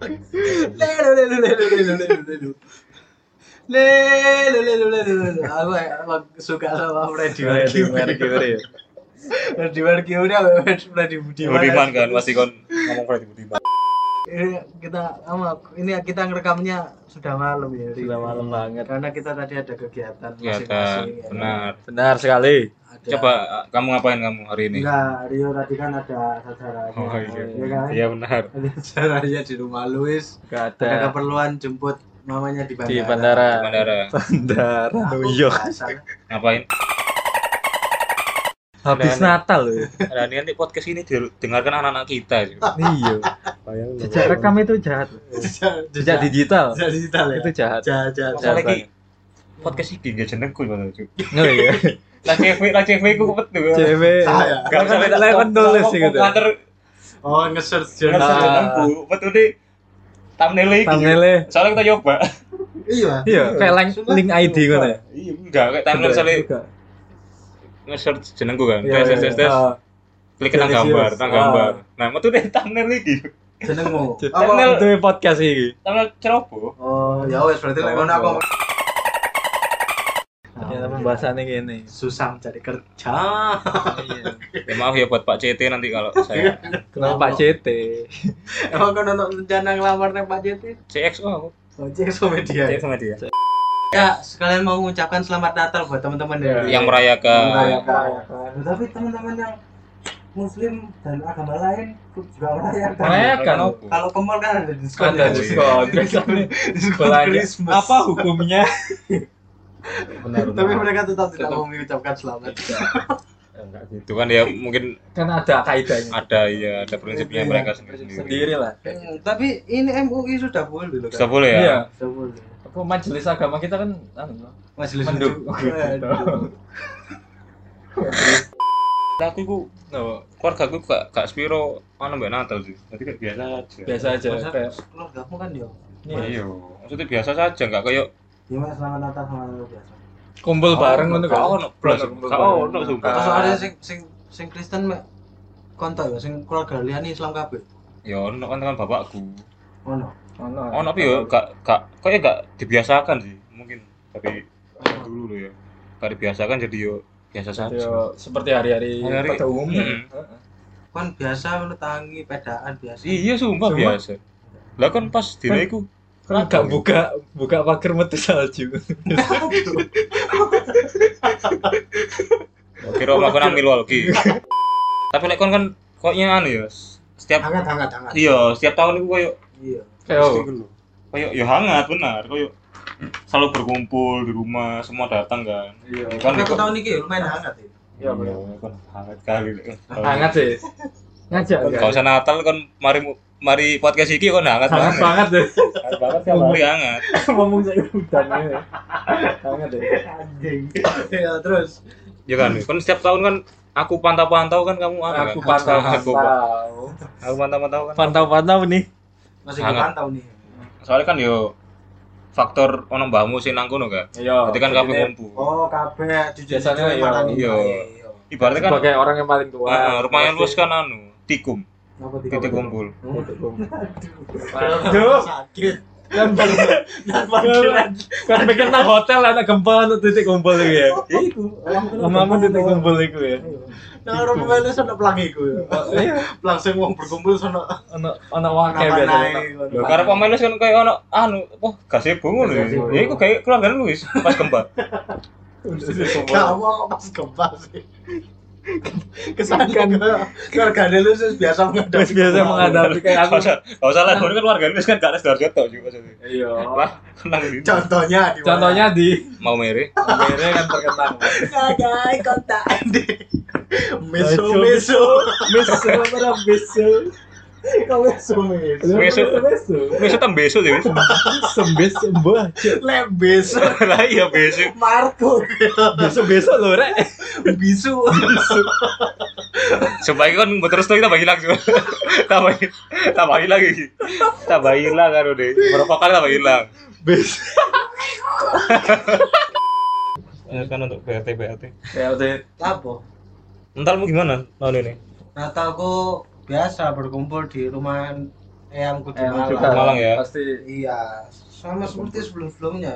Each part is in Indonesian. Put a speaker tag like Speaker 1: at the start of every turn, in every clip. Speaker 1: Lelo, lelo, lelo, lelo, lelo, lelo. Lelo, lelo, lelo, lelo. Aku emang suka sama Freddie Mercury. Freddie Mercury sama Freddie Budiman.
Speaker 2: Budiman kan masih kon ngomong Freddy Budiman.
Speaker 1: Ini kita sama ini kita ngerekamnya sudah malam ya. Ri.
Speaker 3: Sudah malam banget.
Speaker 1: Karena kita tadi ada kegiatan
Speaker 2: Kelihatan
Speaker 1: masing-masing. ya.
Speaker 2: Iya, benar.
Speaker 3: Benar sekali.
Speaker 1: Ada-
Speaker 2: Coba eh, kamu ngapain kamu hari ini?
Speaker 1: Enggak, Rio tadi kan ada acaranya.
Speaker 2: Oh iya.
Speaker 1: Iya kan?
Speaker 2: Iya benar.
Speaker 1: Ada acaranya di rumah Luis.
Speaker 3: Gak
Speaker 1: Ada
Speaker 3: ada
Speaker 1: keperluan jemput mamanya di bandara.
Speaker 3: di bandara.
Speaker 2: Di bandara.
Speaker 3: Bandara
Speaker 1: Aku
Speaker 3: New York.
Speaker 1: nggak
Speaker 2: Ngapain?
Speaker 3: Habis
Speaker 2: Dan-
Speaker 3: Natal loh.
Speaker 2: Nah, ini nanti podcast ini didengarkan anak-anak kita. cuy.
Speaker 3: Iya. Jejak rekam itu jahat.
Speaker 1: salah.
Speaker 3: Jejak digital
Speaker 1: Jejak digital ya.
Speaker 3: itu jahat.
Speaker 1: Jahat, jahat.
Speaker 3: Jahat.
Speaker 2: Masalah lagi podcast ini gak jenengku malah cuy.
Speaker 3: Oh iya.
Speaker 2: Lah cewek, lah cewek ku kepet tuh.
Speaker 3: Cewek.
Speaker 1: Saya.
Speaker 3: Kan beda lawan nulis sih gitu.
Speaker 2: Kantor
Speaker 1: Oh, nge-search
Speaker 2: jeneng
Speaker 3: Nah.
Speaker 1: jurnal.
Speaker 2: kepet udah thumbnail iki.
Speaker 3: Thumbnailnya
Speaker 2: Soalnya kita coba.
Speaker 1: Iya.
Speaker 3: iya kayak link, link ID ngono ya.
Speaker 2: Iya, enggak kayak thumbnail soalnya nge-search jenengku kan.
Speaker 3: Iya,
Speaker 2: Tes
Speaker 3: iya,
Speaker 2: tes tes
Speaker 3: iya.
Speaker 2: tes.
Speaker 3: Ah,
Speaker 2: Klik nang
Speaker 3: Jadi,
Speaker 2: gambar,
Speaker 3: yes.
Speaker 2: nang
Speaker 3: Ah.
Speaker 2: gambar. Nah, metu deh thumbnail iki.
Speaker 1: Jenengmu.
Speaker 3: Jejak.
Speaker 2: Thumbnail.
Speaker 3: Itu podcast iki.
Speaker 2: Thumbnail ceroboh.
Speaker 1: Oh, ya wes berarti lek ngono aku.
Speaker 3: Ternyata pembahasannya gini.
Speaker 1: susah mencari kerja.
Speaker 2: Ya maaf ya buat Pak CT nanti kalau saya
Speaker 3: Kenapa Pak CT?
Speaker 1: Emang kau nonton rencana ngelamar nih Pak Jeti?
Speaker 2: CXO oh, aku.
Speaker 1: Ojek sama dia.
Speaker 2: sama dia.
Speaker 1: Ya, sekalian mau mengucapkan selamat Natal buat teman-teman ya.
Speaker 2: Yang
Speaker 1: Yang
Speaker 2: merayakan
Speaker 1: merayakan. ya, Tapi teman-teman yang Muslim dan agama lain juga merayakan.
Speaker 3: Merayakan.
Speaker 2: aku.
Speaker 1: Kalau ke mall kan ada diskon.
Speaker 2: Ada
Speaker 1: ya.
Speaker 2: diskon.
Speaker 1: diskon
Speaker 3: Belanja.
Speaker 1: Christmas.
Speaker 3: Apa hukumnya?
Speaker 2: Benar.
Speaker 1: Tapi mereka tetap tidak
Speaker 2: Tetap.
Speaker 1: mau mengucapkan selamat.
Speaker 2: enggak gitu kan ya mungkin
Speaker 3: Kan ada kaidahnya.
Speaker 2: ada ya ada
Speaker 1: Iya,
Speaker 2: prinsipnya mereka
Speaker 3: Sendiri
Speaker 2: sendiri.
Speaker 3: lah.
Speaker 1: Hmm, tapi ini MUI sudah boleh loh. Kan?
Speaker 2: Bisa boleh ya?
Speaker 3: Iya.
Speaker 1: Sudah boleh.
Speaker 3: Apa majelis agama kita kan anu,
Speaker 1: Majelis
Speaker 3: Mendukung.
Speaker 1: Ujuk. Aduh.
Speaker 2: Nah, aku iku
Speaker 3: no,
Speaker 2: keluarga aku gak gak spiro anu mbak Natal sih. Jadi kayak biasa aja.
Speaker 3: biasa aja
Speaker 1: Masa
Speaker 3: kayak
Speaker 1: keluargamu kan yo.
Speaker 3: ini, ya,
Speaker 2: Iya. Maksudnya biasa saja enggak kayak
Speaker 1: Gimana Ya, selamat Natal sama Natal biasa.
Speaker 3: kumpul bareng ngono kan?
Speaker 2: Gak ono blas.
Speaker 3: Kumpul
Speaker 2: Gak
Speaker 3: bareng.
Speaker 2: ono sumpah.
Speaker 1: Kalau ada sing sing sing Kristen mek kontak ya sing keluarga liyane Islam kabeh.
Speaker 2: Ya ono kan kan bapakku.
Speaker 1: Ono.
Speaker 3: Ono.
Speaker 2: Ono tapi ya gak gak kayak gak dibiasakan sih mungkin tapi dulu loh ya. Gak dibiasakan jadi yo biasa
Speaker 3: Yo,
Speaker 1: Iya.
Speaker 2: saja.
Speaker 3: seperti hari-hari
Speaker 2: Hari-hari.
Speaker 3: pada umumnya.
Speaker 2: Mm.
Speaker 3: Heeh.
Speaker 1: Kan biasa menetangi pedaan biasa.
Speaker 2: Iya sumpah
Speaker 3: Sumpah.
Speaker 2: biasa. Lah kan pas dina iku
Speaker 3: Kan gak buka buka pagar metu salju.
Speaker 1: Iya.
Speaker 2: kira melakukan nang Milwaukee. Tapi lek kon kan koknya anu ya. Setiap
Speaker 1: Hangat hangat hangat.
Speaker 2: iya, setiap tahun iku koyo gitu
Speaker 1: Iya.
Speaker 3: Kayak
Speaker 2: koyo ya hangat benar, koyo selalu berkumpul di rumah, semua datang kan.
Speaker 3: Iya.
Speaker 2: Kan
Speaker 1: Tapi aku
Speaker 2: iku-
Speaker 1: tahun ini lumayan hangat ya.
Speaker 3: Iya,
Speaker 2: Iya,
Speaker 3: bener.
Speaker 2: kan hangat kali. Lek.
Speaker 3: hangat sih. Ngajak
Speaker 2: Kalau
Speaker 3: enggak?
Speaker 2: usah Natal kan mari mari podcast iki kon hangat
Speaker 3: Hangat
Speaker 2: banget.
Speaker 3: banget deh.
Speaker 2: Hangat banget ya, Bang. hangat.
Speaker 3: Ngomong saya udan ini. Hangat deh.
Speaker 1: Anjing. Ya terus.
Speaker 2: Ya kan, kan setiap tahun kan aku pantau-pantau kan kamu anu
Speaker 3: Aku
Speaker 2: kan?
Speaker 3: pantau
Speaker 2: Aku-
Speaker 3: pantau.
Speaker 2: Aku pantau-pantau kan.
Speaker 3: Pantau-pantau nih.
Speaker 1: Masih
Speaker 2: Hangat.
Speaker 1: dipantau nih.
Speaker 2: Soalnya kan yo faktor ono mbahmu sing nang kono kan.
Speaker 3: Iya.
Speaker 2: Jadi kan kabeh ngumpul.
Speaker 1: Oh, kabeh
Speaker 3: Biasanya
Speaker 1: jujur-jujur
Speaker 3: iya.
Speaker 1: makan
Speaker 2: Iya.
Speaker 1: iya.
Speaker 2: Ibaratnya kan
Speaker 3: sebagai orang yang paling tua.
Speaker 2: Heeh, rumah yang luas
Speaker 3: Pasti-
Speaker 2: kan anu, tikum,
Speaker 1: Ngapa
Speaker 2: titik kumpul.
Speaker 3: Hmm.
Speaker 1: Oh,
Speaker 3: Aduh.
Speaker 1: sakit.
Speaker 3: Kan
Speaker 1: Dan panggilan.
Speaker 3: kan pikir nang hotel ada gempa untuk titik kumpul itu ya.
Speaker 1: Iku.
Speaker 3: Rumahmu titik kumpul itu ya.
Speaker 1: Nah, orang pemainnya sana pelangi iku. ya.
Speaker 3: Iya.
Speaker 1: Langsung wong berkumpul sana.
Speaker 3: Ono ono wake
Speaker 1: Kenapa
Speaker 3: biasa.
Speaker 1: naik?
Speaker 2: Lho karena pemain Luis kan kayak ono anu, wah gazebo ngono ya.
Speaker 3: Gazebo.
Speaker 2: Ya iku kayak keluarga Luis pas gempa.
Speaker 1: Kamu kok pas gempa sih. Kesannya kan keluarga lu terus biasa menghadapi.
Speaker 3: Terus biasa
Speaker 1: gempa.
Speaker 3: menghadapi kayak
Speaker 2: Gak
Speaker 3: aku.
Speaker 2: usah, gak usah lah, kan keluarga Luis kan gak ada Sidoarjo juga maksudnya.
Speaker 3: Iya.
Speaker 2: Wah, kenang gitu.
Speaker 1: Contohnya di mana?
Speaker 3: Contohnya di
Speaker 2: Mau mere.
Speaker 3: Mere kan terkenal.
Speaker 1: Nagai kontak Andi.
Speaker 3: Nah,
Speaker 1: Meso
Speaker 3: Meso,
Speaker 1: meso.
Speaker 3: Besu apa besu?
Speaker 1: Kau meso meso.
Speaker 2: Besu.
Speaker 3: besu.
Speaker 2: Wis tem besok sih.
Speaker 3: Sembes sembah.
Speaker 1: Lem beso.
Speaker 2: Lah iya besok.
Speaker 1: Marco.
Speaker 3: Besu besu lho rek.
Speaker 1: Bisu.
Speaker 2: Sebaiknya kan buat terus tuh kita bagi lagi. Tambahin, tambahin lagi. Tambahin lah kan udah. Berapa kali tambahin lah.
Speaker 3: Besu.
Speaker 2: Kan untuk BRT BRT.
Speaker 3: Ya udah.
Speaker 1: Lapo.
Speaker 2: Entar mau gimana tahun ini?
Speaker 1: Natalku biasa berkumpul di rumah Eyang Kudu
Speaker 3: Eyang
Speaker 1: Malang.
Speaker 3: Kudu
Speaker 2: Malang ya.
Speaker 3: Pasti
Speaker 1: Iya, sama seperti sebelum-sebelumnya.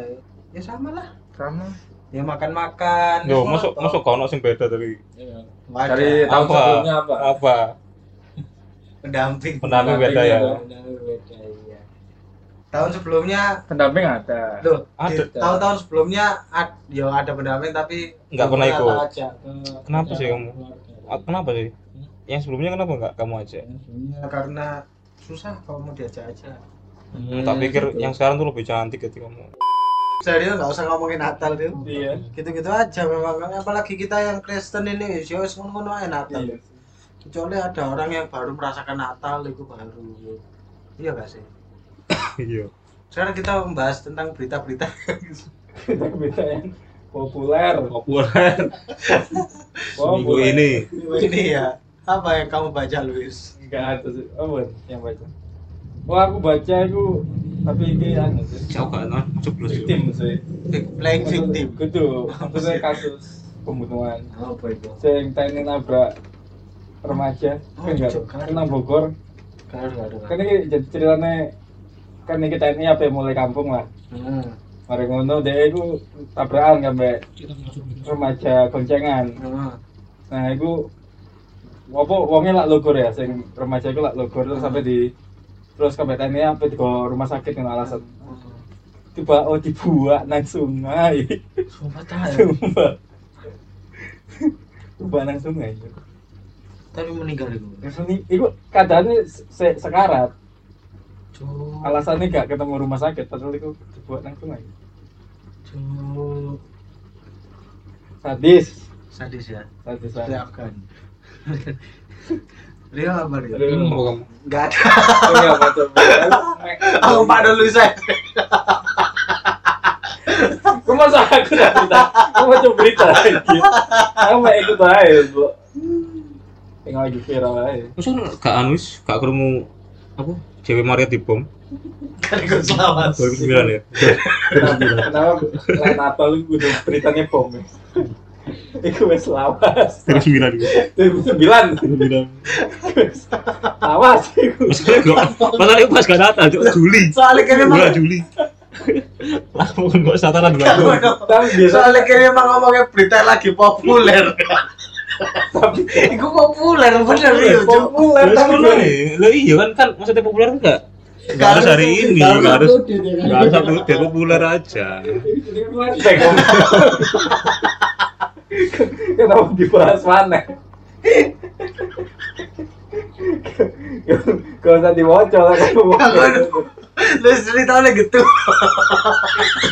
Speaker 1: Ya sama lah.
Speaker 3: sama.
Speaker 1: Ya makan-makan.
Speaker 2: Yo, masuk masuk kau sing beda dari
Speaker 3: Dari
Speaker 1: Cari
Speaker 3: tahun
Speaker 2: Apa?
Speaker 3: sebelumnya apa?
Speaker 2: apa?
Speaker 1: pendamping.
Speaker 2: Pendamping beda ya.
Speaker 3: Pendamping
Speaker 1: Pendamping beda, iya. Tahun sebelumnya
Speaker 3: Pendamping ada.
Speaker 1: loh,
Speaker 2: Ada.
Speaker 1: di- tahun-tahun sebelumnya ad, yo ada pendamping tapi
Speaker 2: Nggak pernah
Speaker 1: rata
Speaker 2: ikut.
Speaker 1: aja.
Speaker 2: Kenapa sih kamu? Ah, Kenapa sih? Yang sebelumnya kenapa nggak kamu aja?
Speaker 1: Ya, karena susah kalau mau diajak aja.
Speaker 2: Hmm, tak pikir
Speaker 3: gitu.
Speaker 2: yang sekarang tuh lebih cantik gitu kamu.
Speaker 1: Serius nggak usah ngomongin Natal deh.
Speaker 3: Iya.
Speaker 1: Gitu-gitu aja memang apalagi kita yang Kristen ini yo wis ngono-ngono ae Natal.
Speaker 3: Iya.
Speaker 1: kecuali ada orang yang baru merasakan Natal itu baru iya gak sih
Speaker 2: Iya.
Speaker 1: sekarang kita membahas tentang berita-berita
Speaker 3: Beda yang populer.
Speaker 2: Populer minggu
Speaker 3: Populer.
Speaker 2: ini.
Speaker 1: ini ya apa yang kamu baca Luis
Speaker 3: Enggak ada sih. Apa yang baca? Oh aku baca aku tapi ini anu sih.
Speaker 2: Jauh kan? Jeblos.
Speaker 3: Victim sih.
Speaker 1: Big Playing Victim
Speaker 3: Gitu.
Speaker 1: Apa sih?
Speaker 3: Maksudnya kasus pembunuhan.
Speaker 1: apa itu
Speaker 3: Sing tanya nabrak remaja
Speaker 1: Oh,
Speaker 3: kan enggak
Speaker 1: Jogja.
Speaker 3: kena Bogor.
Speaker 1: garu garu
Speaker 3: Kan ini jadi ceritanya kan ini TNI apa yang mulai kampung lah.
Speaker 1: hmm.
Speaker 3: Mari ngono dia itu tabrakan kan mbak remaja goncengan.
Speaker 1: Hmm.
Speaker 3: Nah itu apa wongnya lak logor ya, sing remaja itu lak logor terus sampai di terus ke ini apa di rumah sakit dengan alasan tiba oh dibuat nang sungai
Speaker 1: sumpah tahu
Speaker 3: coba coba nang sungai
Speaker 1: tapi meninggal itu
Speaker 3: terus ini itu keadaannya se sekarat
Speaker 1: Cuk,
Speaker 3: alasannya gak ketemu rumah sakit padahal itu dibuat nang sungai
Speaker 1: cuk.
Speaker 3: sadis
Speaker 1: sadis ya
Speaker 3: sadis
Speaker 1: dari
Speaker 3: sadis
Speaker 1: Afgan Rio apa Rio?
Speaker 3: Aduh,
Speaker 2: Apa kamu?
Speaker 1: Gak ada.
Speaker 3: ini apa coba?
Speaker 1: Aku pada Luis eh. aja.
Speaker 3: Kok masa aku gak cerita? Aku mau coba cerita lagi. Aku mau ikut aja, Bu. Tinggal lagi viral aja.
Speaker 2: Masa gak anus, gak kerungu apa? Cewek Maria di bom
Speaker 1: Karena selamat.
Speaker 2: 2009 ya.
Speaker 3: Kenapa? Kenapa? Lain Natal itu udah beritanya bom ya? Iku wes lawas.
Speaker 2: 2009 gitu.
Speaker 3: 2009.
Speaker 2: 2009.
Speaker 3: Lawas iku.
Speaker 2: Masalahnya gak, masalahnya itu pas gak datang, Cuk. Juli.
Speaker 1: Soalnya kayaknya
Speaker 2: Bulan
Speaker 1: emang-
Speaker 2: Juli. Aku nggak sataran dua
Speaker 1: Tahu
Speaker 2: tahun.
Speaker 1: dong.
Speaker 3: Tapi biasa
Speaker 1: Soalnya kini emang ngomongnya berita lagi populer. Iku populer bener iya, Cuk.
Speaker 3: populer
Speaker 2: Lah,
Speaker 3: tapi
Speaker 2: populer ya? Lah iya kan kan maksudnya populer enggak? Enggak harus hari ini,
Speaker 1: Nggak
Speaker 2: enggak harus
Speaker 1: update ya kan?
Speaker 2: enggak harus update, dia populer aja.
Speaker 3: ini kan melenceng, Om. Kenapa dibahas mana? Gak usah dibocor lah
Speaker 1: Aku-
Speaker 3: kamu.
Speaker 1: Lu cerita oleh gitu.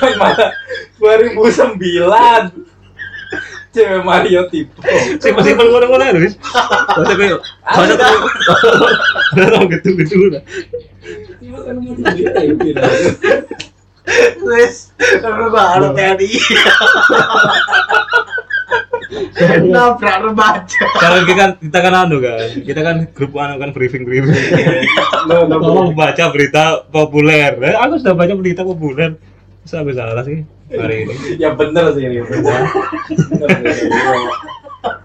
Speaker 3: Kan malah 2009 cewek Mario tipe
Speaker 2: Sing mesti ngono-ngono ya, lho, wis. Kok koyo kok koyo orang gitu-gitu lah.
Speaker 3: kan
Speaker 1: Terus terus gua harus TNI. Nabrak remaja.
Speaker 2: Karena kita kan kita kan anu kan, kita kan grup anu kan briefing-briefing.
Speaker 3: no no no
Speaker 2: Tolong baca berita populer. Eh, Aku sudah baca berita populer. Masa aku salah sih hari ini?
Speaker 3: ya bener sih ini bener Bener sih, iya.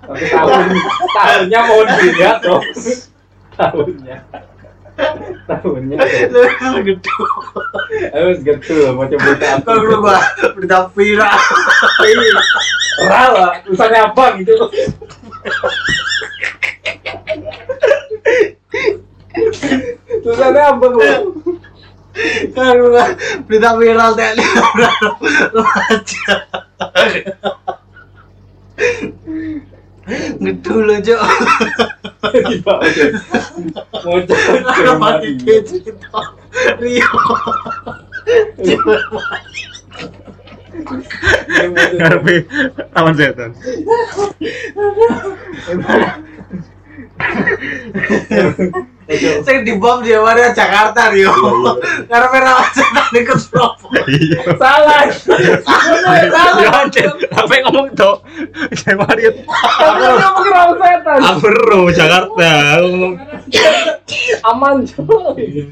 Speaker 3: tapi tahun tahunnya mau dilihat dong tahunnya tahunnya
Speaker 1: Lu gitu.
Speaker 3: harus gitu mau coba berita apa
Speaker 1: Kalau gua gua berita viral.
Speaker 3: rala tulisannya apa gitu tulisannya apa lu
Speaker 1: Kan gua berita viral TNI nabrak remaja. Ngedul lu, Cuk.
Speaker 3: tiba
Speaker 1: Aku
Speaker 3: mau coba
Speaker 1: mati gitu. Rio.
Speaker 2: Ngarepe awan setan.
Speaker 1: Saya di bom di Maria Jakarta Rio. Karena merah setan ikut propo.
Speaker 2: Iya.
Speaker 3: salah
Speaker 2: Ya anjir, apa yang ngomong tuh? Saya Maria
Speaker 3: kamu ngomong rala setan
Speaker 2: Abro Jakarta. Aku ngomong
Speaker 3: aman cuy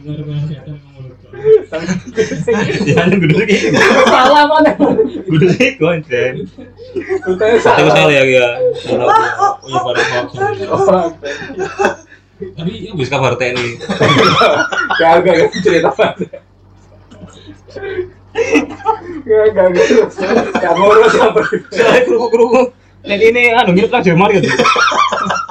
Speaker 2: ya anu gede iki.
Speaker 3: salah mana
Speaker 2: Gede iki konten.
Speaker 3: Rutanya
Speaker 2: Aku
Speaker 3: salah
Speaker 2: oh, salah ya ya. Salah. Oh, ya, parah, parah.
Speaker 3: orang
Speaker 2: Iya, Tapi ini bisa kabar TNI.
Speaker 3: Gak, gak, gak cerita apa. Gak, gak, gak. Gak ngurus apa.
Speaker 2: Saya kerungu kerungu. Dan ini anu ngirit lah Jemar gitu.